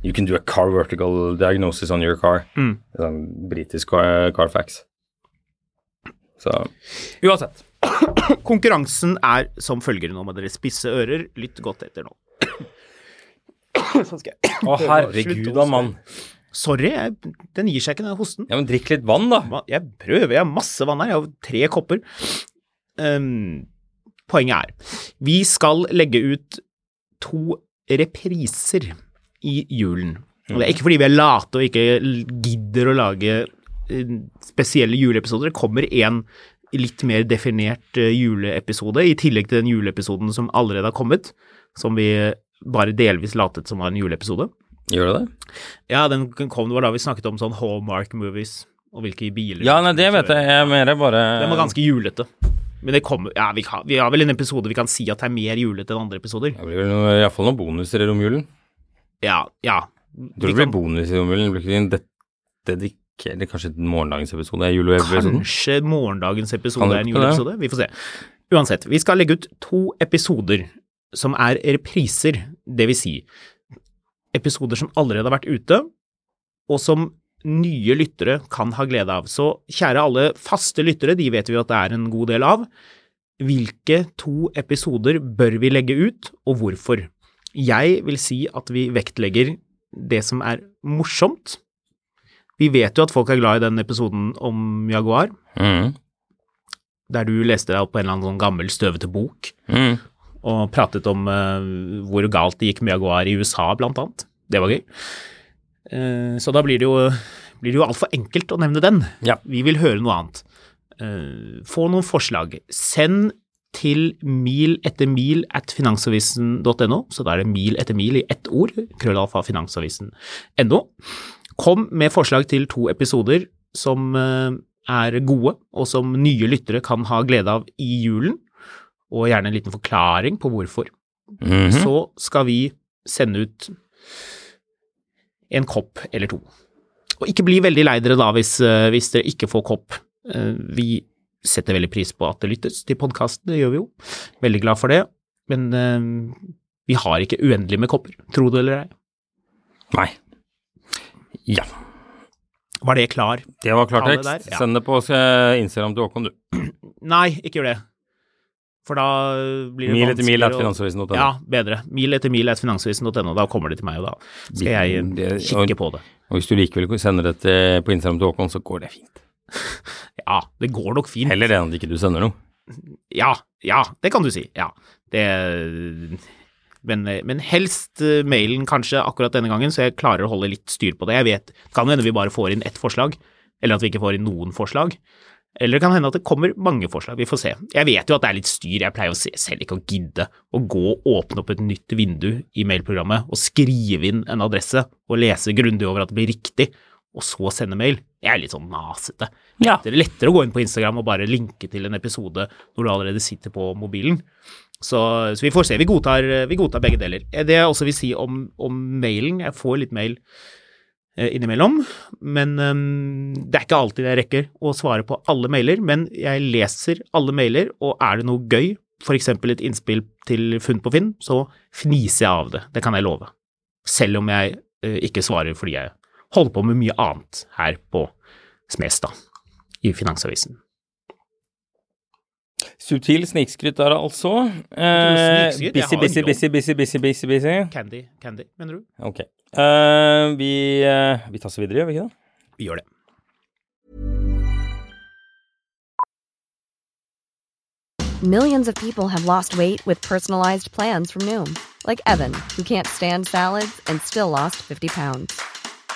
You can do a car vertical diagnosis on your car.
Mm.
Det er Sånn britisk car, Carfax. Så uansett.
Konkurransen er som følger. Nå må dere spisse ører. Lytt godt etter nå. Sånn skal jeg.
Å, herregud da, mann.
Sorry, jeg, den gir seg ikke, den hosten.
Ja, men drikk litt vann, da.
Ma- Jeg prøver, jeg har masse vann her. Jeg har tre kopper. Ehm, poenget er, vi skal legge ut to repriser i julen. Og det
Mhm.
er ikke fordi vi er late og ikke l- gidder å lage eh, spesielle juleepisoder. Det kommer en litt mer definert eh, juleepisode, i tillegg til den juleepisoden som allerede har kommet, som vi bare delvis latet som var en juleepisode.
Gjør du det?
Ja, den kom, det var da vi snakket om sånn Hallmark movies, og hvilke biler
Ja, nei, det vet jeg. Jeg er mer bare
Den var ganske julete. Men det kommer Ja, vi har, vi har vel en episode vi kan si at det er mer julete enn andre episoder.
Det blir vel iallfall noen bonuser i romjulen.
Ja, ja.
Jeg Tror
Vi
det blir
kan-
bonus i romjulen. Det blir ikke en det- dedikert Kanskje morgendagens episode? er jule- og episoden.
Kanskje morgendagens
Kan
episode
det
er en
ikke det?
juleepisode. Vi får se. Uansett, vi skal legge ut to episoder som er repriser, det vil si episoder som allerede har vært ute, og som nye lyttere kan ha glede av. Så kjære alle faste lyttere, de vet vi jo at det er en god del av. Hvilke to episoder bør vi legge ut, og hvorfor? Jeg vil si at vi vektlegger det som er morsomt. Vi vet jo at folk er glad i den episoden om Jaguar, Mm-hmm.
Mm.
der du leste deg opp på en eller annen sånn gammel, støvete bok
Mm.
og pratet om eh, hvor galt det gikk med Jaguar i USA, blant annet. Det var gøy. Eh, så da blir det jo, blir det jo altfor enkelt å nevne den.
Ja.
Vi vil høre noe annet. Eh, få noen forslag. Send til mil etter mil at finansavisen.no, så da er det mil etter mil i ett ord, krøllalfa finansavisen.no. Kom med forslag til to episoder som eh, er gode, og som nye lyttere kan ha glede av i julen og gjerne en liten forklaring på hvorfor.
Mhm.
så skal vi sende ut en kopp eller to. Og ikke bli veldig lei dere da hvis, eh, hvis dere ikke får kopp. Eh, Vi setter veldig pris på at det lyttes til podkasten, det gjør vi jo. Veldig glad for det. Men eh, vi har ikke uendelig med kopper, tro det eller ei.
Nei. Ja.
Var det klar?
Det var
Alle
klartekst.
der, ja.
Send det på eh, Instagram til Håkon, du.
Nei, ikke gjør det. For da eh, blir det
Mil etter mil
vanskeligere
er
å-
finansavisen.no.
Ja, bedre. Mil etter mil at finansavisen.no. Da kommer det til meg, og da skal jeg eh,
Det- og-
kikke på det.
Og hvis du likevel sender det til, på Instagram til Håkon, så går det fint.
Ja, det går nok fint.
Heller det enn at ikke du sender noe.
Ja, ja, det kan du si. Ja, det men, men helst eh, mailen kanskje akkurat denne gangen, så jeg klarer å holde litt styr på det. Jeg vet, Det kan hende vi bare får inn ett forslag, eller at vi ikke får inn noen forslag. Eller det kan hende at det kommer mange forslag, vi får se. Jeg vet jo at det er litt styr, jeg pleier å se, selv ikke å gidde å gå og åpne opp et nytt vindu i mailprogrammet og skrive inn en adresse og lese grundig over at det blir riktig, og så sende mail. Jeg er litt sånn nasete.
Ja.
Det er lettere å gå inn på Instagram og bare linke til en episode når du allerede sitter på mobilen. Så, så vi får se. Vi godtar, vi godtar begge deler. Eh, Det jeg også vil si om, om mailen Jeg får litt mail eh, innimellom, men eh, det er ikke alltid jeg rekker å svare på alle mailer. Men jeg leser alle mailer, og er det noe gøy, f.eks. et innspill til Funn på Finn, så fniser jeg av det. Det kan jeg love. Selv om jeg eh, ikke svarer fordi jeg holder på med mye annet her på Smestad i Finansavisen.
Subtil snikskryt der, altså.
er
Eh,
snikskryt, jeg
busy,
har en
busy,
jobb.
busy, busy, busy, busy, busy.
Candy, Candy, mener du?
Ok. Eh, vi, eh, vi tasser videre, gjør vi ikke det?
Vi gjør det.
Millions of people have lost weight with personalized plans from Noom, like Evan, who can't stand salads and still lost 50 pounds.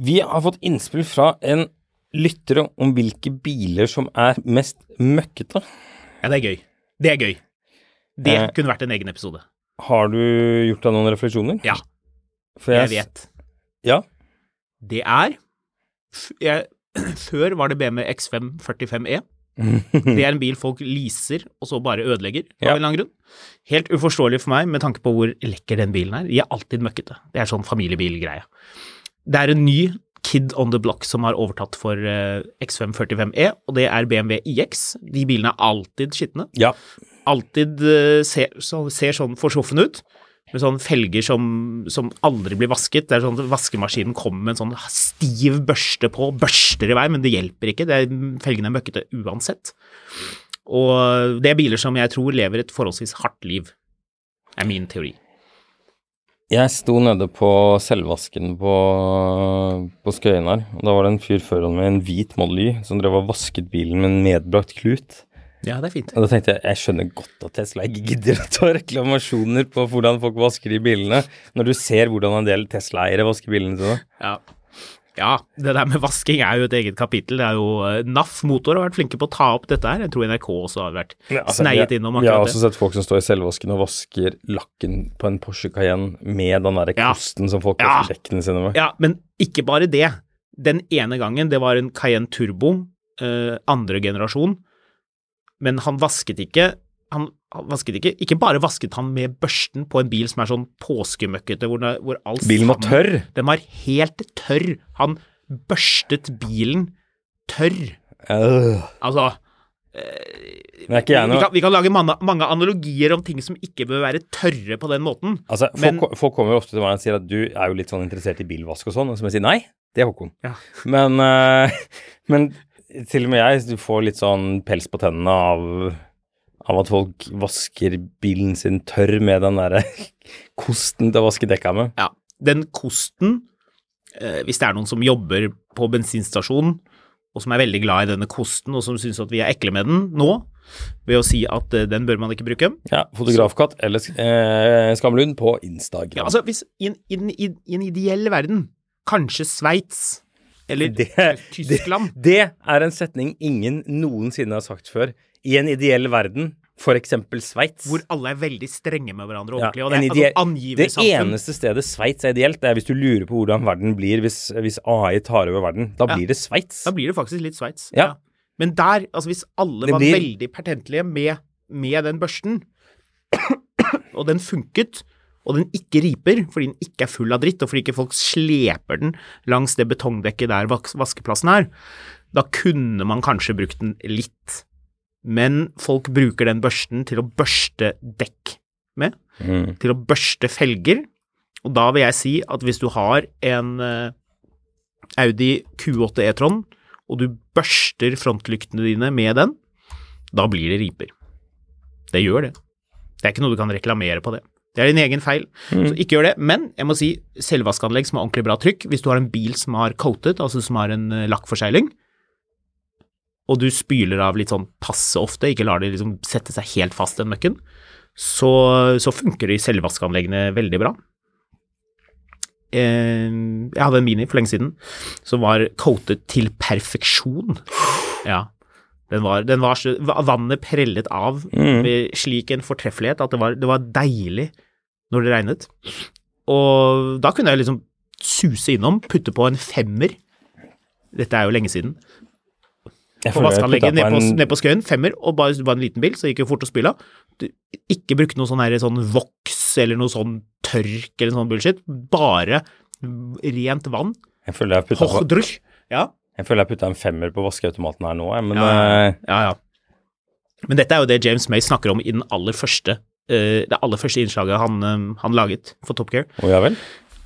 Vi har fått innspill fra en lyttere om hvilke biler som er mest møkkete.
Ja, det er gøy. Det er gøy. Det
Eh.
kunne vært en egen episode.
Har du gjort deg noen refleksjoner?
Ja,
For
jeg vet.
Ja.
Det er f- jeg, [CLEARS THROAT] Før var det BMW X5 45E. E. Det er en bil folk leaser og så bare ødelegger av
Ja.
en eller annen grunn. Helt uforståelig for meg med tanke på hvor lekker den bilen er. De er alltid møkkete. Det er sånn familiebilgreie. Det er en ny Kid on the Block som har overtatt for eh, X5 45E, E, og det er BMW IX. De bilene er alltid skitne
Ja.
alltid eh, ser, så, ser sånn forsruffen ut, med sånne felger som, som aldri blir vasket. Det er sånn at Vaskemaskinen kommer med en sånn stiv børste på, børster i vei, men det hjelper ikke. Det er, felgene er møkkete uansett. Og det er biler som jeg tror lever et forholdsvis hardt liv, er min teori.
Jeg sto nede på selvvasken på, på Skøyen her, og da var det en fyr foran med en hvit Model Y som drev og vasket bilen med en medbrakt klut.
Ja, det er fint.
Og da tenkte jeg jeg skjønner godt at Tesla ikke gidder å ta reklamasjoner på hvordan folk vasker de bilene, når du ser hvordan en del Tesla-eiere vasker bilene sine.
Ja. ja, det der med vasking er jo et eget kapittel. Det er jo eh, NAF Motor har vært flinke på å ta opp dette her. Jeg tror NRK også har vært
Ja, altså,
sneiet
vi-
innom
Vi har
akkurat det.
også sett folk som står i selvvasken og vasker lakken på en Porsche Cayenne med den derre
Ja.
kosten som folk
Ja.
vasker dekkene sine med.
[LAUGHS] Ja, men ikke bare det. Den ene gangen, det var en Cayenne Turbo, eh, andre generasjon, men han vasket ikke han han vasket ikke, ikke bare vasket han med børsten på en bil som er sånn påskemøkkete, hvor, det- hvor alt
Bilen var
sammen-
tørr.
Den var helt tørr. Han børstet bilen tørr.
Øh.
Altså,
Men er ikke jeg
Vi
noe
kan, vi kan lage mange, mange analogier om ting som ikke bør være tørre på den måten.
Altså, folk,
Men-
ko- folk kommer jo ofte til meg og sier at du er jo litt sånn interessert i bilvask og sånn, og så må jeg si nei, det er Håkon.
Ja.
Men, eh, men til og med jeg du får litt sånn pels på tennene av, av at folk vasker bilen sin tørr med den derre [LAUGHS] kosten til å vaske dekka med.
Ja. Den kosten, eh, hvis det er noen som jobber på bensinstasjonen, og som er veldig glad i denne kosten, og som syns at vi er ekle med den nå, ved å si at eh, den bør man ikke bruke.
Ja, Fotografkatt eller sk- eh, Skamlund på Instagram.
Ja, altså, hvis, i, en, i, den- i, I en ideell verden, kanskje Sveits eller
Det-
Tyskland
Det er en setning ingen noensinne har sagt før. I en ideell verden, f.eks. Sveits.
hvor alle er veldig strenge med hverandre
Ja,
ordentlig, og
en
det er
ideell-
altså,
det
angiversamfunn.
eneste stedet Sveits er ideelt, det er hvis du lurer på hvordan verden blir hvis, hvis AI tar over verden. Da
Ja.
blir det Sveits.
Da blir det faktisk litt Sveits.
Ja.
Men der, altså hvis alle
Det
var
blir-
veldig pertentlige med, med den børsten, [COUGHS] og den funket, og den ikke riper fordi den ikke er full av dritt, og fordi ikke folk sleper den langs det betongdekket der vaks- vaskeplassen er, da kunne man kanskje brukt den litt. Men folk bruker den børsten til å børste dekk med, til å børste felger, og da vil jeg si at hvis du har en eh, Audi Q8 e-tron, og du børster frontlyktene dine med den, da blir det riper. Det gjør det. Det er ikke noe du kan reklamere på det. Det er din egen feil, så ikke gjør det. Men jeg må si selvvaskanlegg som har ordentlig bra trykk. Hvis du har en bil som har coated, altså som har en eh, lakkforsegling, og du spyler av litt sånn passe ofte, ikke lar det liksom sette seg helt fast den møkken, så, så funker de selvvaskanleggene veldig bra. Eh, jeg hadde en Mini for lenge siden som var coated til perfeksjon. Ja. Den var, den var så, va- vannet prellet av
Mm.
med slik en fortreffelighet at det var, det var deilig når det regnet. Og da kunne jeg liksom suse innom, putte på en femmer. Dette er jo lenge siden.
Jeg
På
føler jeg
vaskeanlegget
putta
ned
på
på,
en-
ned på skøyen, femmer, og bare, det var en liten bil, så det gikk jo fort å spyle av. Du- Ikke brukte noe sånn, her, sånn voks eller noe sånn tørk eller sånn bullshit. Bare rent vann.
Jeg føler jeg putta på-
Hochdruch. Ja.
jeg føler jeg putta en femmer på vaskeautomaten her nå, jeg, men
Ja,
eh,
ja, ja. Men dette er jo det James May snakker om i den aller første, eh, det aller første innslaget han, eh, han laget for Top Gear.
Å ja vel?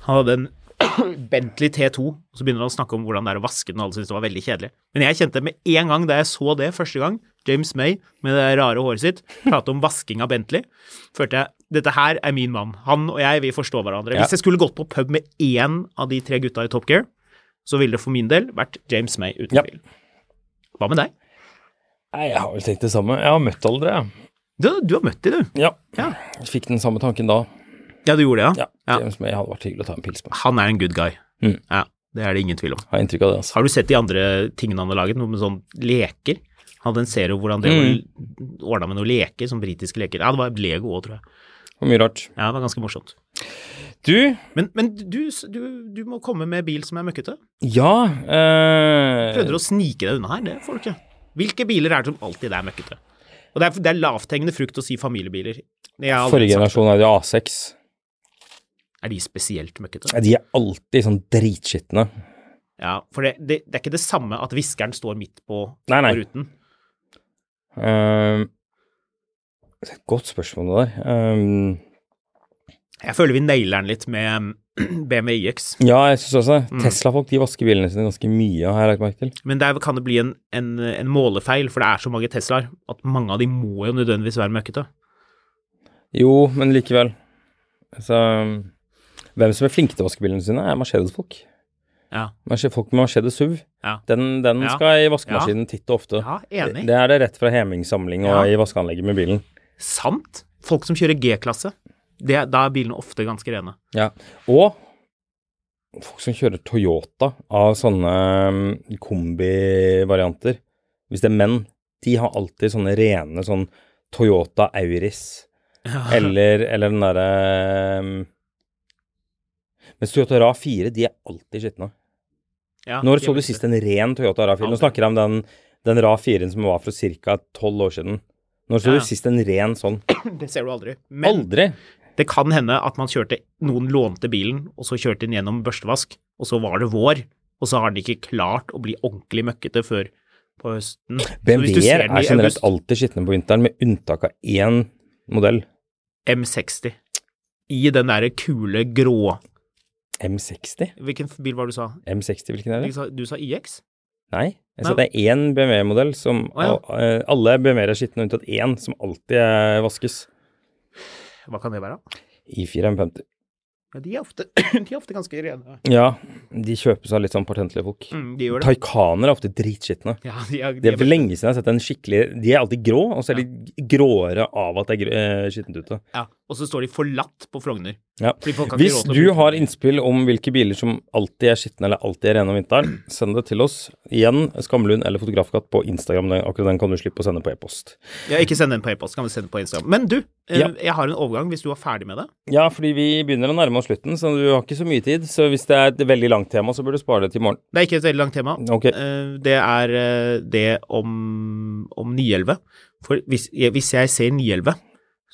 Han hadde en [COUGHS] Bentley T2, og så begynner han å snakke om hvordan det er å vaske den, og alle syntes det var veldig kjedelig. Men jeg kjente med en gang da jeg så det første gang, James May med det rare håret sitt, prate om vasking av Bentley, følte jeg dette her er min mann. Han og jeg, vi forstår hverandre.
Ja.
Hvis jeg skulle gått på pub med én av de tre gutta i Top Gear, så ville det for min del vært James May uten
Ja.
tvil. Hva med deg?
Nei, jeg har vel tenkt det samme. Jeg har møtt aldri, jeg.
Du, du har møtt de, du.
Ja.
Ja.
Jeg Fikk den samme tanken da.
Ja, du gjorde det,
Ja.
ja? Ja.
James May hadde vært hyggelig å ta en pils med.
Han er en good guy.
Mm.
Ja, det er det ingen tvil om.
Har inntrykk av det, altså.
Har du sett de andre tingene han har laget, noe med sånn leker? Han hadde en serie hvor han mm. ordna med noen leker, sånn britiske leker. Ja, det var Lego òg, tror jeg.
Og mye rart.
Ja, det var ganske morsomt.
Du,
Men, men du, du, du må komme med bil som er møkkete.
ja eh,
Prøvde å snike deg unna her, det får du ikke. Hvilke biler er det som alltid er møkkete? Og det er, det er lavthengende frukt å si familiebiler. Det har jeg allerede
Forrige
sagt.
generasjon er det A6.
Er de spesielt møkkete?
Nei, De er alltid sånn dritskitne.
Ja, for det, det, det er ikke det samme at viskeren står midt på,
Nei, nei.
på ruten.
Ehm, det er et godt spørsmål det der. Ehm,
Jeg føler vi nailer den litt med [CLEARS THROAT] BMW IX,
ja, jeg synes også
Mm.
det. Tesla-folk de vasker bilene sine ganske mye, har jeg lagt merke til.
men der kan det bli en, en, en målefeil, for det er så mange Teslaer at mange av de må jo nødvendigvis være møkkete.
Jo, men likevel. Så, hvem som er flinke til å vaske bilene sine, er Mercedes-folk.
Ja.
Merce- Folk med Mercedes SUV.
Ja.
Den, den
Ja.
skal i vaskemaskinen titt og ofte.
Ja, enig.
Det er det rett fra Heming-samling og
Ja.
i vaskeanlegget med bilen.
Sant. Folk som kjører G-klasse, det, da er bilene ofte ganske rene.
Ja. Og folk som kjører Toyota av sånne mm, kombivarianter, hvis det er menn, de har alltid sånne rene sånn Toyota Auris,
[LAUGHS]
eller, eller den derre mm, Mens Toyota RA4, de er alltid skitne.
Ja,
Når
de
så
er
du
møkkete.
sist en ren Toyota RA4? Nå
Aldri.
snakker jeg om den, den RA4-en som var fra ca. tolv år siden. Når så
Ja, ja.
du sist en ren sånn?
[CLEARS THROAT] Det ser du aldri. Men
Aldri!
det kan hende at man kjørte Noen lånte bilen, og så kjørte den gjennom børstevask, og så var det vår, og så har den ikke klart å bli ordentlig møkkete før på høsten. Så hvis du
BMW-er
ser den i
er generelt
august-
alltid skitne på vinteren, med unntak av én modell,
M60. I den derre kule grå
M60.
Hvilken bil var det du sa?
M60, hvilken er
Du
det?
sa, du sa IX?
Nei. Jeg sa
Nei.
det er én BMW-modell som
Å, ja.
al- eh, Alle BMW-er er skitne, unntatt én som alltid eh, vaskes.
Hva kan det være?
I4 M50.
Ja, de, er ofte, [CLEARS THROAT] de er ofte ganske rene.
Ja, de kjøpes av litt sånn partentlige folk.
Mm, de gjør det.
Taycaner er ofte dritskitne.
Ja, de er,
Det
de
er for lenge siden jeg har sett en skikkelig De er alltid grå, og så er de gråere av at det er gr- eh, skittent ute.
ja. Og så står de forlatt på Frogner.
Ja.
Fordi folk har ikke
Hvis
råd til å
du
bruke
har
det.
innspill om hvilke biler som alltid er skitne eller alltid er rene om vinteren, send det til oss. Igjen Skamlund eller Fotografkatt på Instagram. Den- Akkurat den kan du slippe å sende på e-post.
Ja, ikke send den på e-post, kan vi sende den på Instagram. Men du, eh,
Ja.
jeg har en overgang hvis du er ferdig med det.
Ja, fordi vi begynner å nærme oss slutten, så du har ikke så mye tid. Så hvis det er et veldig langt tema, så bør du spare det til i morgen.
Det er ikke et veldig langt tema.
Ok.
Eh, Det er eh, det om, om 911. For hvis, jeg- hvis jeg ser 911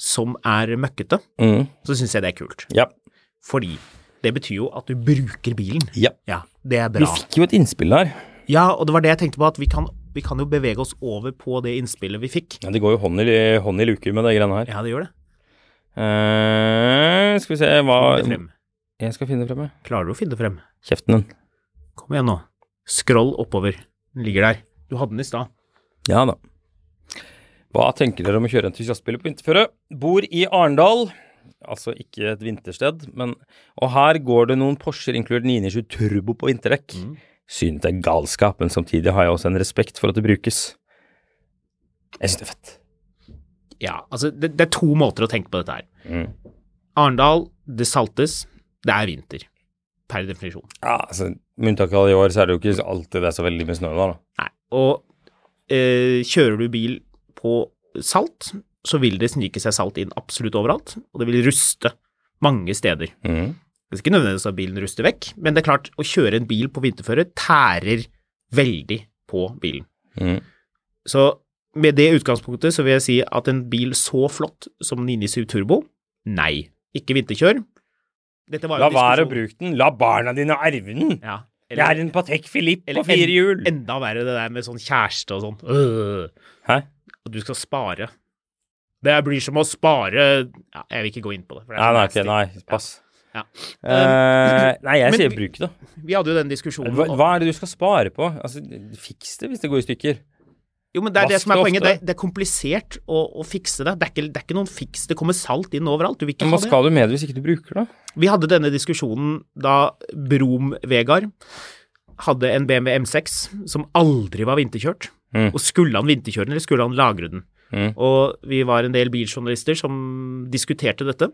som er møkkete,
Mm.
så syns jeg det er kult.
Ja.
Fordi det betyr jo at du bruker bilen.
ja.
Ja, det er
Vi
bra.
fikk jo et innspill der.
Ja, og det var det jeg tenkte på, at vi kan, vi kan jo bevege oss over på det innspillet vi fikk.
Ja, det går jo hånd i, hånd i luke med de greiene her.
Ja, det gjør det.
Eh, skal vi se
Kom
hva
det frem.
Jeg skal finne det frem, jeg.
Klarer du å finne det frem?
Kjeften din.
Kom igjen nå. Scroll oppover. Den ligger der. Du hadde den i stad.
Ja da. Hva tenker dere om å kjøre entusiastbil på vinterføre? Bor i Arendal, altså ikke et vintersted, men Og her går det noen Porscher, inkludert 927 Turbo på vinterdekk.
Mm.
Synes det er galskap, men samtidig har jeg også en respekt for at det brukes. Jeg synes det er fett.
Ja, altså det, det er to måter å tenke på dette her. Arendal, det saltes, det er vinter. Per definisjon.
Ja, altså, Med unntak av i år, så er det jo ikke alltid det er så veldig mye snø der, da.
Nei. Og eh, kjører du bil på salt, så vil det snike seg salt inn absolutt overalt, og det vil ruste mange steder.
Mm.
Det er ikke nødvendigvis at bilen ruster vekk, men det er klart, å kjøre en bil på vinterføre tærer veldig på bilen.
Mm.
Så med det utgangspunktet så vil jeg si at en bil så flott som 997 Turbo, nei, ikke vinterkjør. Dette var jo
La
en
være å
diskusjon-
bruke den. La barna dine arve den.
Ja.
Det er en Patek Philippe på fire hjul.
en- Enda verre det der med sånn kjæreste og sånn. Øh,
Hæ?
at du skal spare. Det blir som å spare ja, Jeg vil ikke gå inn på det. for det er
Nei, nei,
så nasty.
ok, nei, pass.
Ja.
Eh, nei, jeg
men
sier
vi-
bruk det.
Vi hadde jo den diskusjonen
Hva,
om-
hva er det du skal spare på? Altså, Fiks det hvis det går i stykker.
Jo, men det er det
Vask
som er
det
poenget. Det,
ofte.
det er komplisert å, å fikse det. Det er, ikke, det er ikke noen fiks. Det kommer salt inn overalt. Du vil ikke
Men hva
ha det.
skal du med det hvis ikke du bruker det?
Vi hadde denne diskusjonen da Brom-Vegard hadde en BMW M6 som aldri var vinterkjørt. Og skulle han vinterkjøre den, eller skulle han lagre den? Og vi var en del biljournalister som diskuterte dette.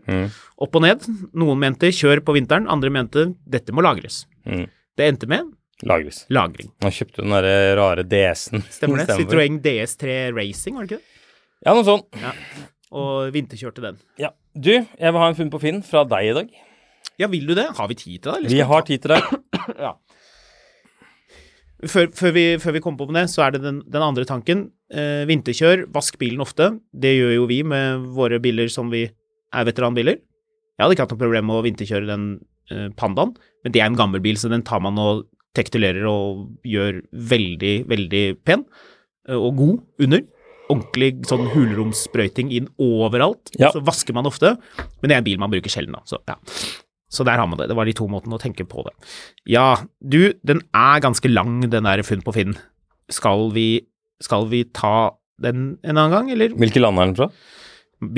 Opp og ned. Noen mente kjør på vinteren, andre mente dette må lagres. Det endte med
Lagres.
lagring.
Man kjøpte den derre rare DS-en. [LAUGHS]
Stemmer det?
istedenfor.
Citroën DS3 Racing, var det ikke det?
Ja, noe sånt.
Og vinterkjørte den.
Ja. Du, jeg vil ha en funn på Finn fra deg i dag.
Ja, vil du det? Har vi tid til det? eller
Vi
skal
har tid til deg.
før, før, vi, før vi kommer på med det, så er det den, den andre tanken. Eh, vinterkjør, vask bilen ofte. Det gjør jo vi med våre biler som vi er veteranbiler. Jeg hadde ikke hatt noe problem med å vinterkjøre den eh, Pandaen, men det er en gammel bil, så den tar man og tektulerer og gjør veldig, veldig pen eh, og god under. Ordentlig sånn hulromssprøyting inn overalt.
Ja.
Så vasker man ofte, men det er en bil man bruker sjelden, da. Så, ja. så der har man det. Det var de to måtene å tenke på det. Ja, du, den er ganske lang, den der Funn på Finn. Skal vi, skal vi ta den en annen gang, eller?
Hvilket land er den fra?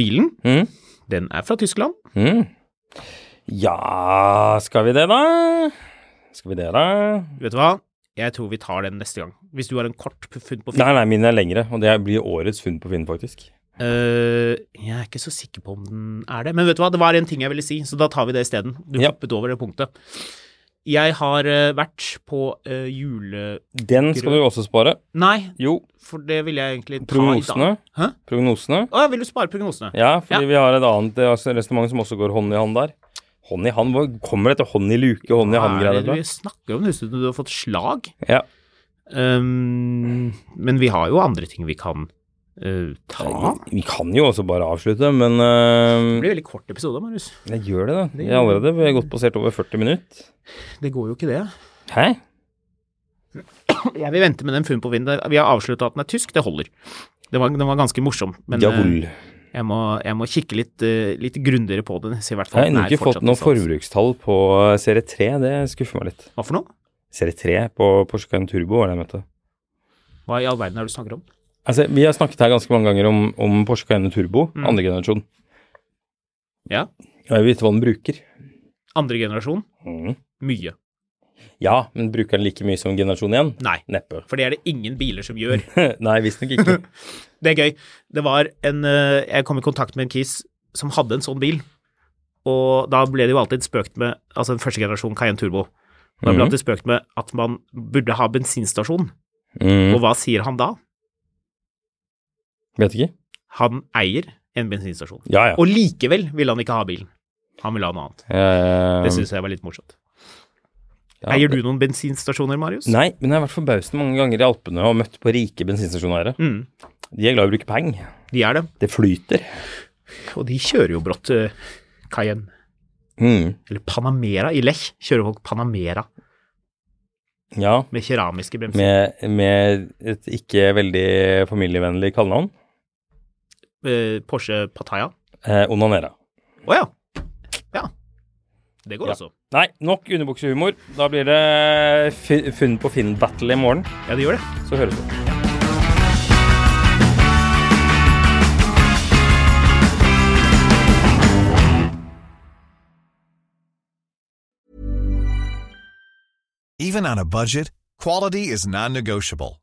Bilen,
Mm.
den er fra Tyskland.
Mm. Ja, skal vi det, da? Skal vi det, da?
Vet du hva? Jeg tror vi tar den neste gang. Hvis du har en kort p- Funn på Finn.
Nei, nei, mine er lengre, og det blir årets funn på Finn, faktisk.
Eh, jeg er ikke så sikker på om den er det. Men vet du hva, det var en ting jeg ville si, så da tar vi det isteden. Du
Ja.
hoppet over det punktet. Jeg har eh, vært på eh, jule...
Den skal du også spare.
Nei,
Jo,
for det ville jeg egentlig ta i
prognosene.
dag. Hæ?
Prognosene.
Å, jeg vil jo spare prognosene.
Ja, fordi
Ja.
vi har et annet eh, altså, resonnement som også går hånd i hånd der. Hånd i hånd? Hvor kommer dette hånd i luke, hånd i
Hva er
hånd-greiene?
det vi snakker om? Det høres ut som du har fått slag.
Ja.
Um, men vi har jo andre ting vi kan eh, ta.
Vi kan jo også bare avslutte, men eh,
Det blir veldig kort episode, Marius.
jeg gjør det, da. Vi er allerede vi har gått passert over 40 minutter.
Det går jo ikke, det.
Hæ?
Jeg vil vente med den funn på vinden. Vi har avslutta at den er tysk, det holder. Den var, den var ganske morsom, men
Jawohl.
eh, jeg, må, jeg må kikke litt, eh, litt grundigere på den. Se i hvert
Jeg
fall
har
den
ennå
er
ikke fått
fortsatt
noe
til salgs.
forbrukstall på eh, serie 3, det skuffer meg litt.
Hva for noe?
Serie 3 på Porsche Cayenne Turbo var det jeg mente.
Hva i all verden er det du snakker om?
Altså, vi har snakket her ganske mange ganger om, om Porsche Cayenne Turbo, andre generasjon.
Mm. Ja,
Og jeg vil vite hva den bruker.
andre generasjon?
Mm.
Mye.
Ja, men bruker den like mye som generasjon 1?
Nei.
Neppe. [LAUGHS]
For det er det ingen biler som gjør.
Nei, visstnok ikke.
Det er gøy. Det var en eh, Jeg kom i kontakt med en kis som hadde en sånn bil, og da ble det jo alltid spøkt med Altså en første generasjon Cayenne Turbo. Og Da ble det
Mhm.
alltid spøkt med at man burde ha bensinstasjon,
Mm,
og hva sier han da?
vet ikke.
Han eier en bensinstasjon.
Ja, ja.
Og likevel vil han ikke ha bilen. Han vil ha noe annet.
Eh,
Det syns jeg var litt morsomt.
ja,
Eier
det-
du noen bensinstasjoner, Marius?
Nei, men jeg har vært forbauset mange ganger i Alpene og møtt på rike bensinstasjonære.
Mm,
De er glad i å bruke penger.
de er det.
Det flyter.
Og de kjører jo brått eh, Cayenne.
Mm.
Eller Panamera. I Lech kjører folk Panamera
Ja,
med keramiske bremser.
med, med et ikke veldig familievennlig kallenavn.
Eh, Porsche Pataya.
Eh, Onanera.
Å ja. Ja. Det går altså.
Ja.
også.
Nei, nok underbuksehumor. Da blir det fi- funn på Finn-battle i morgen.
Ja, det gjør det.
Så høres det.
Even on a budget, quality is non-negotiable.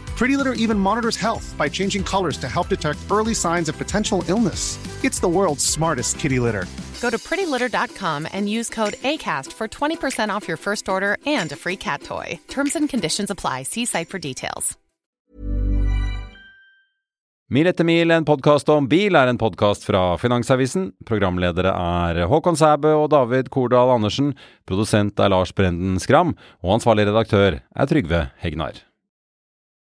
Pretty Litter even monitors health by changing colors to help detect early signs of potential illness. It's the world's smartest kitty litter.
Go to prettylitter.com and use code ACAST for 20% off your first order and a free cat toy. Terms and conditions apply. See site for details.
Mil etter mil, en podkast om bil, er en podkast fra Finansavisen. Programledere er Håkon Sæbø og David Kordal Andersen. Produsent er Lars Brenden Skram. Og ansvarlig redaktør er Trygve Hegnar.